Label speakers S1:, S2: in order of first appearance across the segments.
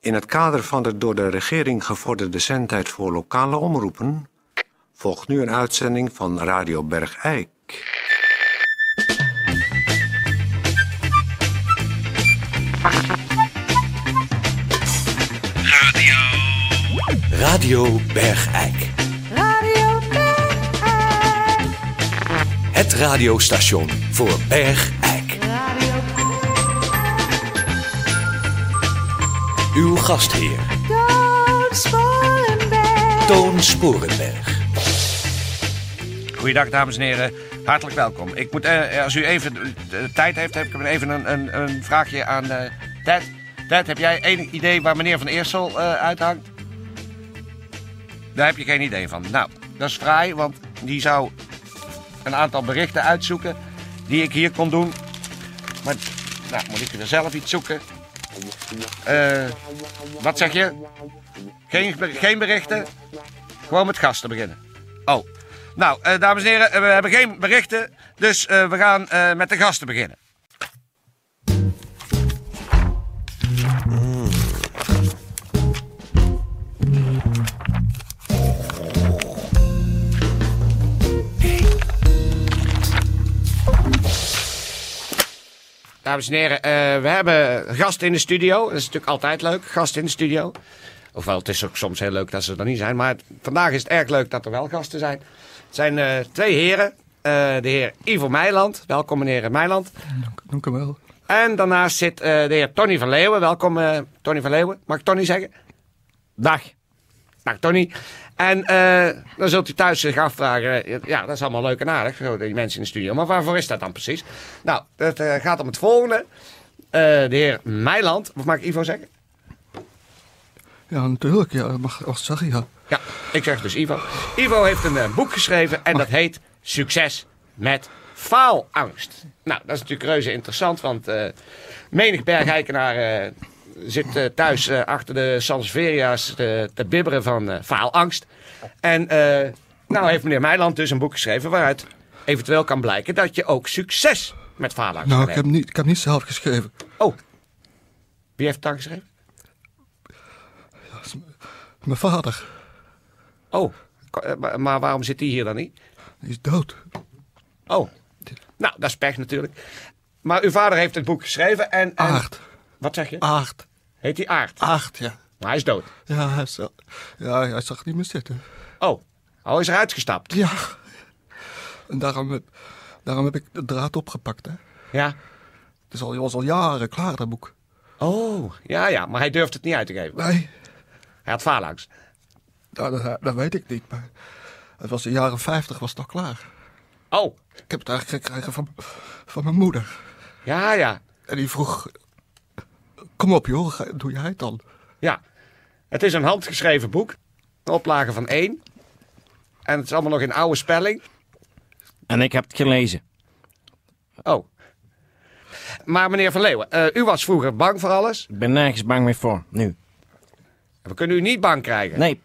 S1: In het kader van de door de regering gevorderde zendtijd voor lokale omroepen volgt nu een uitzending van Radio Bergijk.
S2: Radio Bergijk.
S3: Radio Bergijk.
S2: Het radiostation voor Bergijk.
S3: Radio
S2: Uw gastheer,
S3: Toon Sporenberg.
S2: Toon Sporenberg.
S4: Goeiedag, dames en heren. Hartelijk welkom. Ik moet, eh, als u even eh, tijd heeft, heb ik even een, een, een vraagje aan eh Ted. Ted, heb jij enig idee waar meneer Van Eersel eh, uithangt? Daar heb je geen idee van. Nou, dat is fraai, want die zou een aantal berichten uitzoeken die ik hier kon doen. Maar, nou, moet ik er zelf iets zoeken? Eh, wat zeg je? Geen, geen berichten? Gewoon met gasten beginnen. Oh, nou, eh, dames en heren, eh, we hebben geen berichten, dus eh, we gaan eh, met de gasten beginnen. Dames en heren, eh, we hebben gasten in de studio. Dat is natuurlijk altijd leuk, gasten in de studio. Ofwel, het is ook soms heel leuk dat ze er niet zijn. Maar het- vandaag is het erg leuk dat er wel gasten zijn. Het zijn eh, twee heren. Eh, de heer Ivo Meiland. Welkom, meneer Meiland.
S5: Dank u wel.
S4: En daarnaast zit eh, de heer Tony van Leeuwen. Welkom, eh, Tony van Leeuwen. Mag ik Tony zeggen? Dag. Dag, Tony. En eh, dan zult u thuis zich afvragen, eh, ja, dat is allemaal leuk en aardig, zo, die mensen in de studio. Maar waarvoor is dat dan precies? Nou, het eh, gaat om het volgende. Eh, de heer Meiland, of mag ik Ivo zeggen?
S5: Ja, natuurlijk. Ja, dat mag ik wel zeggen, ja.
S4: Ja, ik zeg dus Ivo. Ivo heeft een eh, boek geschreven en dat heet Succes met faalangst. Nou, dat is natuurlijk reuze interessant, want eh, menig bergheikenaar eh, zit eh, thuis eh, achter de Sanseveria's te, te bibberen van eh, faalangst. En eh, nou heeft meneer Meiland dus een boek geschreven waaruit eventueel kan blijken dat je ook succes met faalangst
S5: Nou,
S4: kan
S5: ik heb,
S4: hebben.
S5: niet, ik heb niet zelf geschreven.
S4: Oh, wie heeft het dan geschreven?
S5: Mijn vader
S4: Oh, ko- eh, maar- maar waarom zit hij hier dan niet?
S5: die is dood.
S4: Oh, nou, dat is pech natuurlijk. Maar uw vader heeft het boek geschreven en... en-
S5: Aard.
S4: Wat zeg je?
S5: Aard.
S4: Heet hij Aard?
S5: Aard, ja.
S4: Maar hij is dood.
S5: Ja, hij, is, wel- ja, hij zag niet meer zitten.
S4: Oh, hij is eruit gestapt.
S5: Ja. En daarom heb, daarom heb ik de draad opgepakt, hè. Het
S4: Ja.
S5: is al, was al jaren klaar, dat boek.
S4: Oh, ja, ja, maar hij durft het niet uit te geven.
S5: Nee,
S4: Hij had phalanx.
S5: nou, dat, dat weet ik niet, maar... Het was in de jaren 50 was het al klaar.
S4: Oh,
S5: Ik heb het eigenlijk gekregen van, van mijn moeder.
S4: ja, ja,
S5: En die vroeg... Kom op, joh, ga- doe jij het dan?
S4: ja. Het is een handgeschreven boek. Een oplage van één. En het is allemaal nog in oude spelling.
S6: En ik heb het gelezen.
S4: Oh. Maar meneer Van Leeuwen, eh, u was vroeger bang voor alles.
S6: Ik ben nergens bang meer voor. Nu.
S4: We kunnen u niet bang krijgen.
S6: Nee,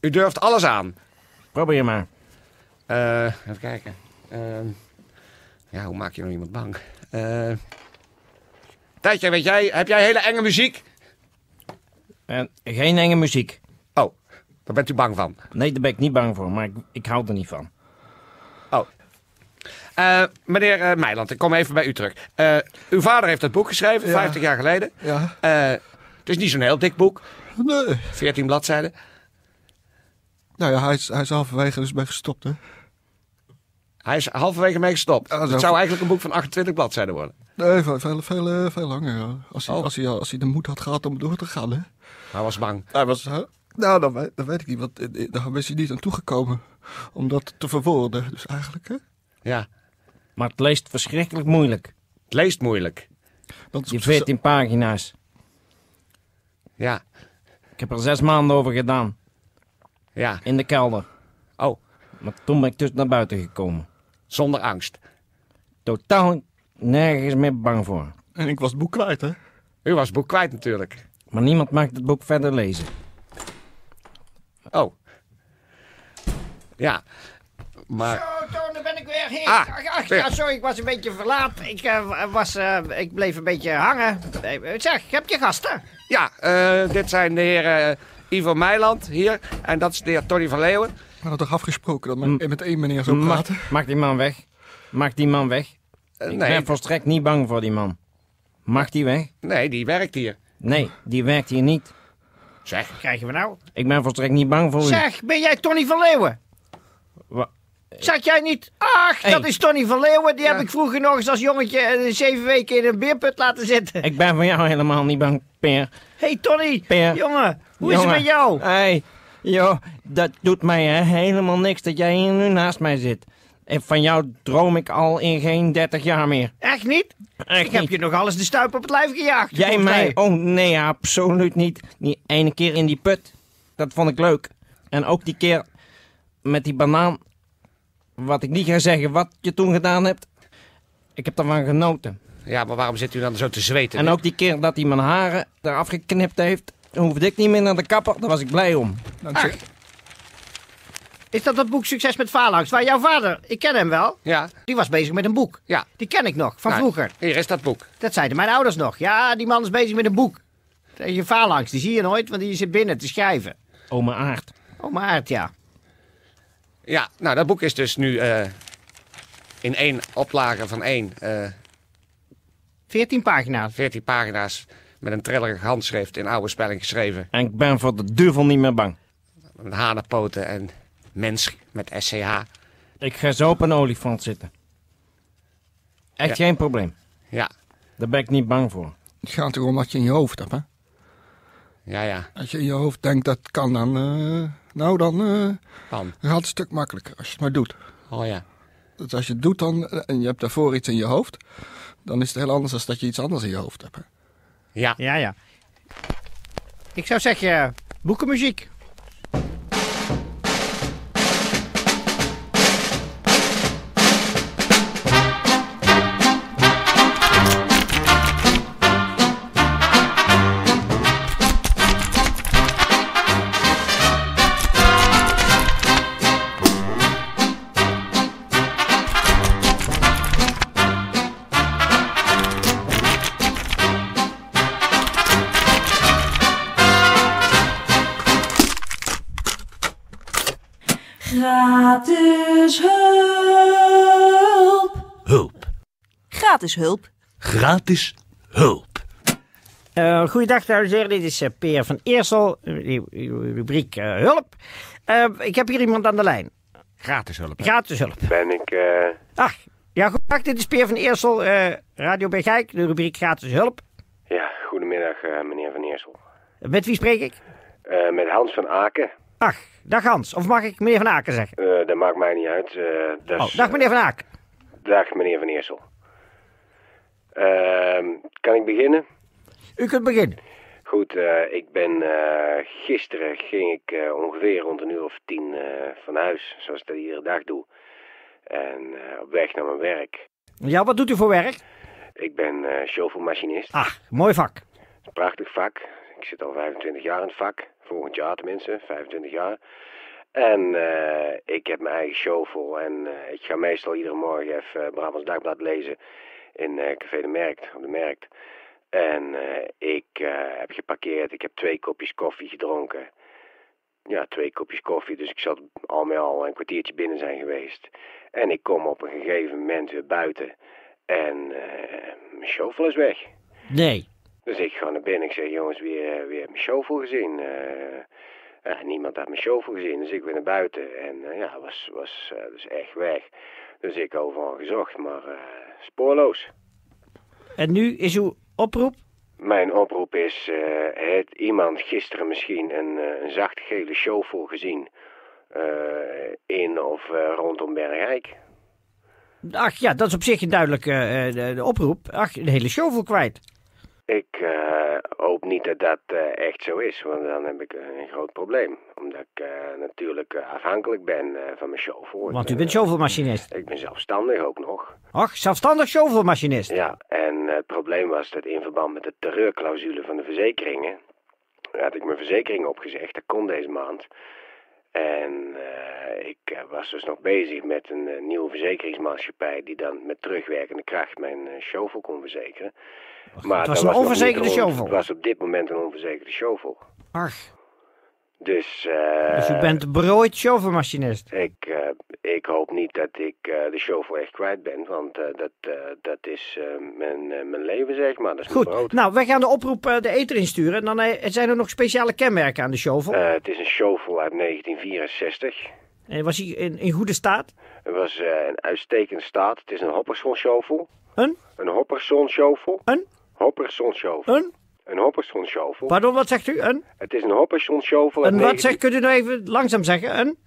S4: U durft alles aan.
S6: probeer maar.
S4: Eh, even kijken. Ehm, ja, hoe maak je nou iemand bang? Eh Tijdje, weet jij, heb jij hele enge muziek?
S6: En Eh, geen enge muziek.
S4: Oh, daar bent u bang van.
S6: Nee, daar ben ik niet bang voor, maar ik, ik hou er niet van.
S4: Oh. Eh, meneer eh, Meiland, ik kom even bij u terug. Eh, uw vader heeft dat boek geschreven,
S5: Ja.
S4: 50 jaar geleden.
S5: Ja.
S4: Eh, het is niet zo'n heel dik boek,
S5: Nee.
S4: 14 bladzijden.
S5: Nou ja, hij is, hij is halverwege dus bij gestopt, hè?
S4: Hij is halverwege mee gestopt.
S5: Ah, zo.
S4: het zou eigenlijk een boek van 28 bladzijden worden.
S5: Nee, veel, veel, veel, eh, veel langer, ja. Als hij,
S4: Oh.
S5: als, hij, als hij de moed had gehad om door te gaan, hè?
S4: Hij was bang.
S5: Hij was... hè? Nou, dat weet, dat weet ik niet, want eh, eh, daar is hij niet aan toegekomen om dat te verwoorden. Dus eigenlijk, hè?
S4: Ja,
S6: Maar het leest verschrikkelijk moeilijk.
S4: het leest moeilijk.
S5: Dat is
S6: Die
S5: op zich-
S6: 14 pagina's.
S4: Ja,
S6: Ik heb er zes maanden over gedaan.
S4: ja.
S6: In de kelder.
S4: Oh,
S6: Maar toen ben ik dus naar buiten gekomen.
S4: zonder angst.
S6: Totaal nergens meer bang voor.
S5: En ik was het boek kwijt, hè?
S4: U was het boek kwijt natuurlijk.
S6: Maar niemand maakt het boek verder lezen.
S4: Oh. Ja. Maar,
S7: Oh, Toon, daar ben ik weer. Heer.
S4: Ah,
S7: ach, ach,
S4: weer.
S7: ja, sorry, ik was een beetje verlaat. Ik, eh, was, eh, ik bleef een beetje hangen. Eh, Zeg, heb je gasten?
S4: Ja, eh, dit zijn de heren eh, Ivo Meiland hier. En dat is de heer Tony van Leeuwen.
S5: We hadden toch afgesproken dat men met één meneer zou praten?
S6: Maak, maak die man weg. Maak die man weg.
S4: Eh,
S6: Ik
S4: nee,
S6: ben volstrekt niet bang voor die man. Mag die weg?
S4: nee, die werkt hier.
S6: Nee, die werkt hier niet.
S4: Zeg,
S7: Krijgen we nou?
S6: Ik ben volstrekt niet bang voor u.
S7: Zeg, ben jij Tony van Leeuwen?
S6: Wa-
S7: Zag jij niet? Ach,
S6: Hey.
S7: dat is Tony van Leeuwen. Die heb ik vroeger nog eens als jongetje eh, zeven weken in een beerput laten zitten.
S6: Ik ben voor jou helemaal niet bang, Peer.
S7: hey, Tony,
S6: Peer.
S7: jongen, hoe is
S6: Jongen.
S7: het met jou?
S6: Hé, hey, joh, dat doet mij hè, helemaal niks dat jij hier nu naast mij zit. En van jou droom ik al in geen 30 jaar meer.
S7: Echt niet?
S6: Echt
S7: ik heb
S6: niet.
S7: je nog alles de stuip op het lijf gejaagd.
S6: Jij
S7: volgens
S6: mij? Oh nee, absoluut niet. Die ene keer in die put, dat vond ik leuk. En ook die keer met die banaan. Wat ik niet ga zeggen wat je toen gedaan hebt. Ik heb daarvan genoten.
S4: ja, maar waarom zit u dan zo te zweten?
S6: En ook die keer dat hij mijn haren eraf geknipt heeft. Toen hoefde ik niet meer naar de kapper, daar was ik blij om.
S5: Dankzij-
S7: Is dat dat boek Succes met Faalangst? Waar jouw vader, ik ken hem wel,
S4: Ja,
S7: die was bezig met een boek.
S4: ja.
S7: Die ken ik nog, van
S4: Nou,
S7: vroeger.
S4: Hier is dat boek.
S7: Dat zeiden mijn ouders nog. Ja, die man is bezig met een boek. Tegen faalangst, die zie je nooit, want die zit binnen te schrijven.
S6: Oma Aard.
S7: Oh, maar Aert, ja.
S4: Ja, nou, dat boek is dus nu eh, in één oplage van één, eh
S7: 14 pagina's.
S4: 14 pagina's met een trillerig handschrift in oude spelling geschreven.
S6: En ik ben voor de duivel niet meer bang.
S4: Met hanenpoten en mens met SCH.
S6: Ik ga zo op een olifant zitten. Echt geen probleem.
S4: Ja,
S6: Daar ben ik niet bang voor.
S5: Het gaat erom wat je in je hoofd hebt, hè?
S4: ja, ja.
S5: Als je in je hoofd denkt dat kan, dan... eh, nou, dan eh,
S4: Pan.
S5: gaat het een stuk makkelijker als je het maar doet.
S4: Oh ja.
S5: Dus als je het doet dan, eh, en je hebt daarvoor iets in je hoofd... dan is het heel anders dan dat je iets anders in je hoofd hebt. Hè?
S4: Ja.
S7: Ja, ja. Ik zou zeggen, boekenmuziek.
S3: Gratis hulp.
S2: Hulp.
S8: Gratis hulp.
S2: Gratis hulp.
S7: Eh goeiedag, dames en heren. Dit is eh, Peer van Eersel, eh, die- die rubriek eh, Hulp. Eh, ik heb hier iemand aan de lijn.
S4: Gratis hulp.
S7: Gratis hulp.
S9: Ben ik. eh,
S7: Ach, ja, goeiedag. Dit is Peer van Eersel, eh, Radio Bergijk, de rubriek Gratis Hulp.
S9: ja, goedemiddag, eh, meneer Van Eersel.
S7: Met wie spreek ik?
S9: Eh, met Hans van Aken.
S7: Ach, dag Hans. Of mag ik meneer Van Aken zeggen?
S9: Eh, dat maakt mij niet uit. eh, dat
S7: Oh,
S9: is-
S7: dag meneer Van Aken.
S9: dag, meneer Van Eersel. Ehm, kan ik beginnen?
S7: U kunt beginnen.
S9: Goed, eh, ik ben. eh, gisteren ging ik eh, ongeveer rond een uur of tien eh, van huis, zoals ik dat iedere dag doe. En eh, op weg naar mijn werk.
S7: Ja, wat doet u voor werk?
S9: Ik ben eh chauffeurmachinist.
S7: Ach, mooi vak.
S9: Prachtig vak. Ik zit al 25 jaar in het vak. Volgend jaar tenminste, 25 jaar. En eh, ik heb mijn eigen shovel en eh, ik ga meestal iedere morgen even eh, Brabants Dagblad lezen in eh, Café de Merkt, op de Merkt. En eh, ik eh, heb geparkeerd, ik heb twee kopjes koffie gedronken. Ja, twee kopjes koffie, dus ik zat al met al een kwartiertje binnen zijn geweest. En ik kom op een gegeven moment weer buiten en eh, mijn shovel is weg.
S7: Nee.
S9: Dus ik ga naar binnen. Ik zeg, jongens, wie, eh, wie heeft mijn shovel gezien? Eh, eh, niemand had mijn shovel gezien. Dus ik ben naar buiten. En eh, ja, was, was eh, dus echt weg. Dus ik overal gezocht, maar eh, spoorloos.
S7: En nu is uw oproep?
S9: Mijn oproep is, eh, heeft iemand gisteren misschien een, eh, een zacht gele shovel gezien? eh, in of eh, rondom Bergijk?
S7: Ach ja, dat is op zich een duidelijke eh, de, de oproep. Ach, de hele shovel kwijt.
S9: Ik eh, hoop niet dat dat eh, echt zo is, want dan heb ik een groot probleem. Omdat ik eh, natuurlijk eh, afhankelijk ben eh, van mijn shovel. Ik
S7: Want u
S9: ben,
S7: bent
S9: eh,
S7: shovelmachinist.
S9: Ik ben zelfstandig ook nog.
S7: Och, zelfstandig shovelmachinist.
S9: Ja, en eh, het probleem was dat in verband met de terreurclausule van de verzekeringen. had ik mijn verzekering opgezegd, dat kon deze maand. En eh, ik eh, was dus nog bezig met een eh, nieuwe verzekeringsmaatschappij die dan met terugwerkende kracht mijn eh, shovel kon verzekeren. Maar
S7: het
S9: dat
S7: was een
S9: nog niet
S7: onverzekerde
S9: on-
S7: shovel.
S9: Het was op dit moment een onverzekerde shovel.
S7: Ach,
S9: Dus, eh,
S7: dus u bent een berooid chauffeurmachinist.
S9: ik, eh, ik hoop niet dat ik eh, de shovel echt kwijt ben, want eh, dat, eh, dat is eh, mijn, eh, mijn leven, zeg maar. Dat is mijn brood.
S7: Goed, nou, wij gaan de oproep eh, de eter insturen. En dan eh, zijn er nog speciale kenmerken aan de shovel.
S9: Eh, het is een shovel uit 1964.
S7: En Eh, was hij in, in goede staat?
S9: Het was eh, een uitstekende staat. Het is een Hopperson shovel.
S7: Een?
S9: Een Hopperson shovel.
S7: Een?
S9: Hopperson shovel.
S7: Een?
S9: Een Hopperson shovel.
S7: Pardon, wat zegt u? Een?
S9: Het is een Hopperson shovel. uit
S7: En wat
S9: 19
S7: zegt, kunt u nou even langzaam zeggen? Een?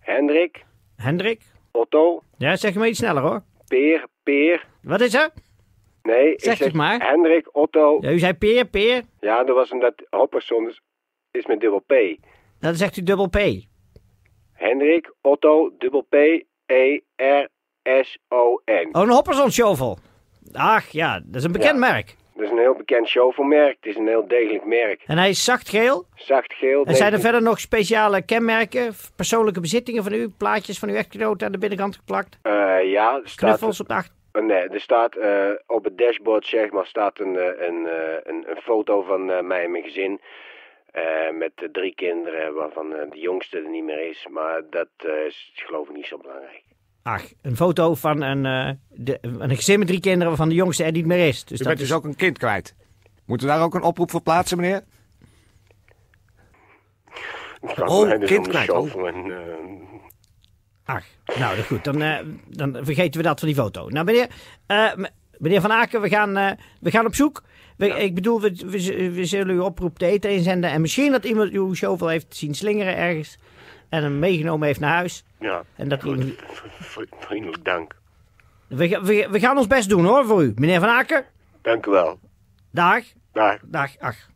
S9: Hendrik,
S7: Hendrik?
S9: Otto,
S7: Ja, zeg maar iets sneller hoor.
S9: Peer, Peer.
S7: Wat is er?
S9: Nee, ik
S7: Zeg
S9: zeg
S7: het maar.
S9: Hendrik, Otto. Ja,
S7: Ja, u zei peer, peer.
S9: dat was omdat Hopperson is, is met dubbel P.
S7: Dan zegt u dubbel P.
S9: Hendrik, Otto, dubbel P, E, R, S, O, N.
S7: Oh, een hopperson shovel. Ach ja, dat is een bekend merk.
S9: Dat is een heel bekend shovelmerk. Het is een heel degelijk merk.
S7: En hij is zacht geel.
S9: Zacht geel.
S7: En zijn er
S9: 19
S7: verder nog speciale kenmerken, f- persoonlijke bezittingen van u, plaatjes van uw echtgenoot aan de binnenkant geplakt,
S9: Eh, ja, er staat
S7: knuffels op de achter...
S9: Eh, Nee, er staat eh, op het dashboard, zeg maar, staat een, eh, een, eh, een, een foto van eh, mij en mijn gezin. Eh, met eh, drie kinderen, waarvan eh, de jongste er niet meer is. Maar dat eh, is geloof ik niet zo belangrijk.
S7: Ach, een foto van een, eh, de, een gezin met drie kinderen waarvan de jongste er niet meer is. Dus
S4: U
S7: dat
S4: bent dus ook een kind kwijt. Moeten we daar ook een oproep voor plaatsen, meneer?
S9: Oh,
S4: kind kwijt, oh.
S9: En, eh,
S7: Ach, nou dat goed, dan, eh, dan vergeten we dat van die foto. Nou meneer, eh, m- meneer Van Aken, we gaan, eh, we gaan op zoek. We- Ik bedoel, we, we, z- we zullen uw oproep te eten inzenden. En misschien dat iemand uw shovel heeft zien slingeren ergens. En hem meegenomen heeft naar huis.
S9: ja,
S7: En dat
S9: goed.
S7: u-
S9: V- Vriendelijk dank.
S7: We, ga- we, we gaan ons best doen hoor, voor u. Meneer Van Aken,
S9: Dank u wel.
S7: dag,
S9: Dag.
S7: dag, ach.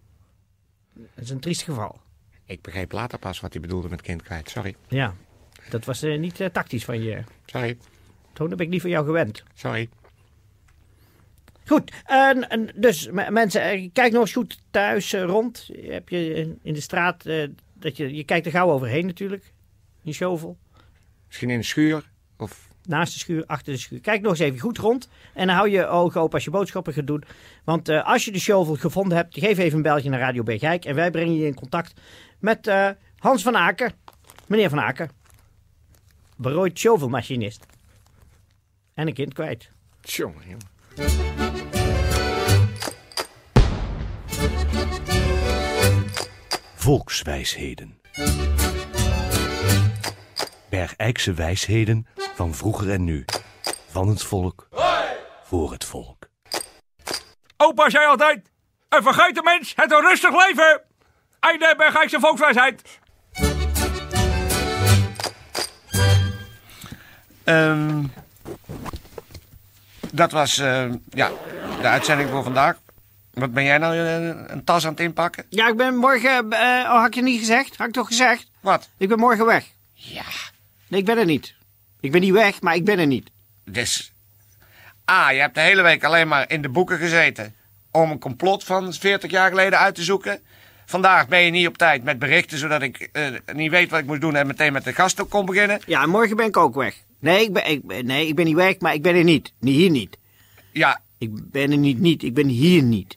S7: Dat is een triest geval.
S4: Ik begreep later pas wat hij bedoelde met kind kwijt. Sorry,
S7: Ja, dat was eh, niet eh, tactisch van je.
S4: sorry,
S7: Toen heb ik niet van jou gewend.
S4: sorry.
S7: Goed, en, en dus m- mensen, eh, kijk nog eens goed thuis eh, rond. Heb je in- in de straat, eh, dat je, je kijkt er gauw overheen natuurlijk. Die shovel.
S4: Misschien in de schuur of
S7: Naast de schuur, achter de schuur. Kijk nog eens even goed rond. En dan hou je ogen open als je boodschappen gaat doen. Want eh, als je de shovel gevonden hebt, geef even een beltje naar Radio Bergijk. En wij brengen je in contact met eh, Hans van Aken. Meneer van Aken. Berooid shovelmachinist. En een kind kwijt.
S4: Tjonge, jongen.
S2: Volkswijsheden. Bergijkse wijsheden van vroeger en nu. Van het volk. Voor het volk.
S8: Opa zei altijd: een vergeten mens het een rustig leven. Einde Bergijkse volkswijsheid.
S4: Ehm, dat was ehm, ja, de uitzending voor vandaag. Wat ben jij nou eh, een tas aan het inpakken?
S7: Ja, ik ben morgen. eh, oh, had ik het niet gezegd? Had ik toch gezegd?
S4: Wat?
S7: Ik ben morgen weg. Ja. Nee, ik ben er niet. Ik ben niet weg, maar ik ben er niet.
S4: Dus. Ah, je hebt de hele week alleen maar in de boeken gezeten. om een complot van 40 jaar geleden uit te zoeken. Vandaag ben je niet op tijd met berichten, zodat ik eh, niet weet wat ik moest doen en meteen met de gast ook kon beginnen.
S7: Ja, en morgen ben ik ook weg. Nee ik ben, ik, ben- nee, ik ben niet weg, maar ik ben er niet. Niet hier niet.
S4: Ja,
S7: Ik ben er niet, niet. Ik ben hier niet.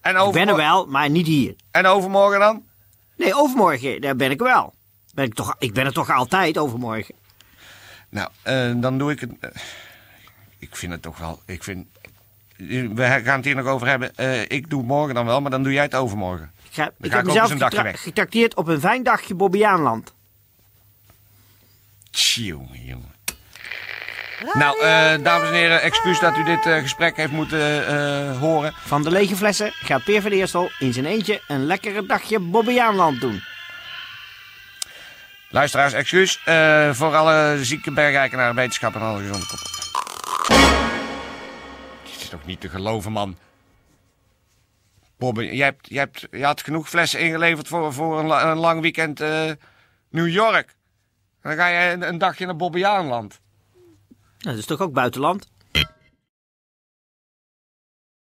S4: en,
S7: Ik ben
S4: overmor-
S7: er wel, maar niet hier.
S4: en overmorgen dan?
S7: Nee, overmorgen, daar ben ik wel. Ben ik, toch, ik ben er toch altijd overmorgen.
S4: Nou, eh, dan doe ik het. eh, ik vind het toch wel. Ik vind. We gaan het hier nog over hebben. Eh, ik doe morgen dan wel, maar dan doe jij het overmorgen.
S7: Ik, ga, ik
S4: ik
S7: heb
S4: ook
S7: mezelf
S4: eens een dagje
S7: getra-
S4: weg.
S7: getrakteerd op een fijn dagje Bobbejaanland.
S4: Tjonge, jongen. Nou, eh, dames en heren, excuus dat u dit eh, gesprek heeft moeten eh, horen.
S7: Van de lege flessen gaat Peer van Eersel in zijn eentje een lekkere dagje Bobbejaanland doen.
S4: Luisteraars, excuus eh, voor alle zieke bergrijkenaren, wetenschap en alle gezonde koppen. Dit is toch niet te geloven, man. Bob, jij, hebt, jij, hebt, je had genoeg flessen ingeleverd voor, voor een, la- een lang weekend eh, New York. En dan ga je een, een dagje naar Bobbejaanland.
S7: Nou, dat is toch ook buitenland?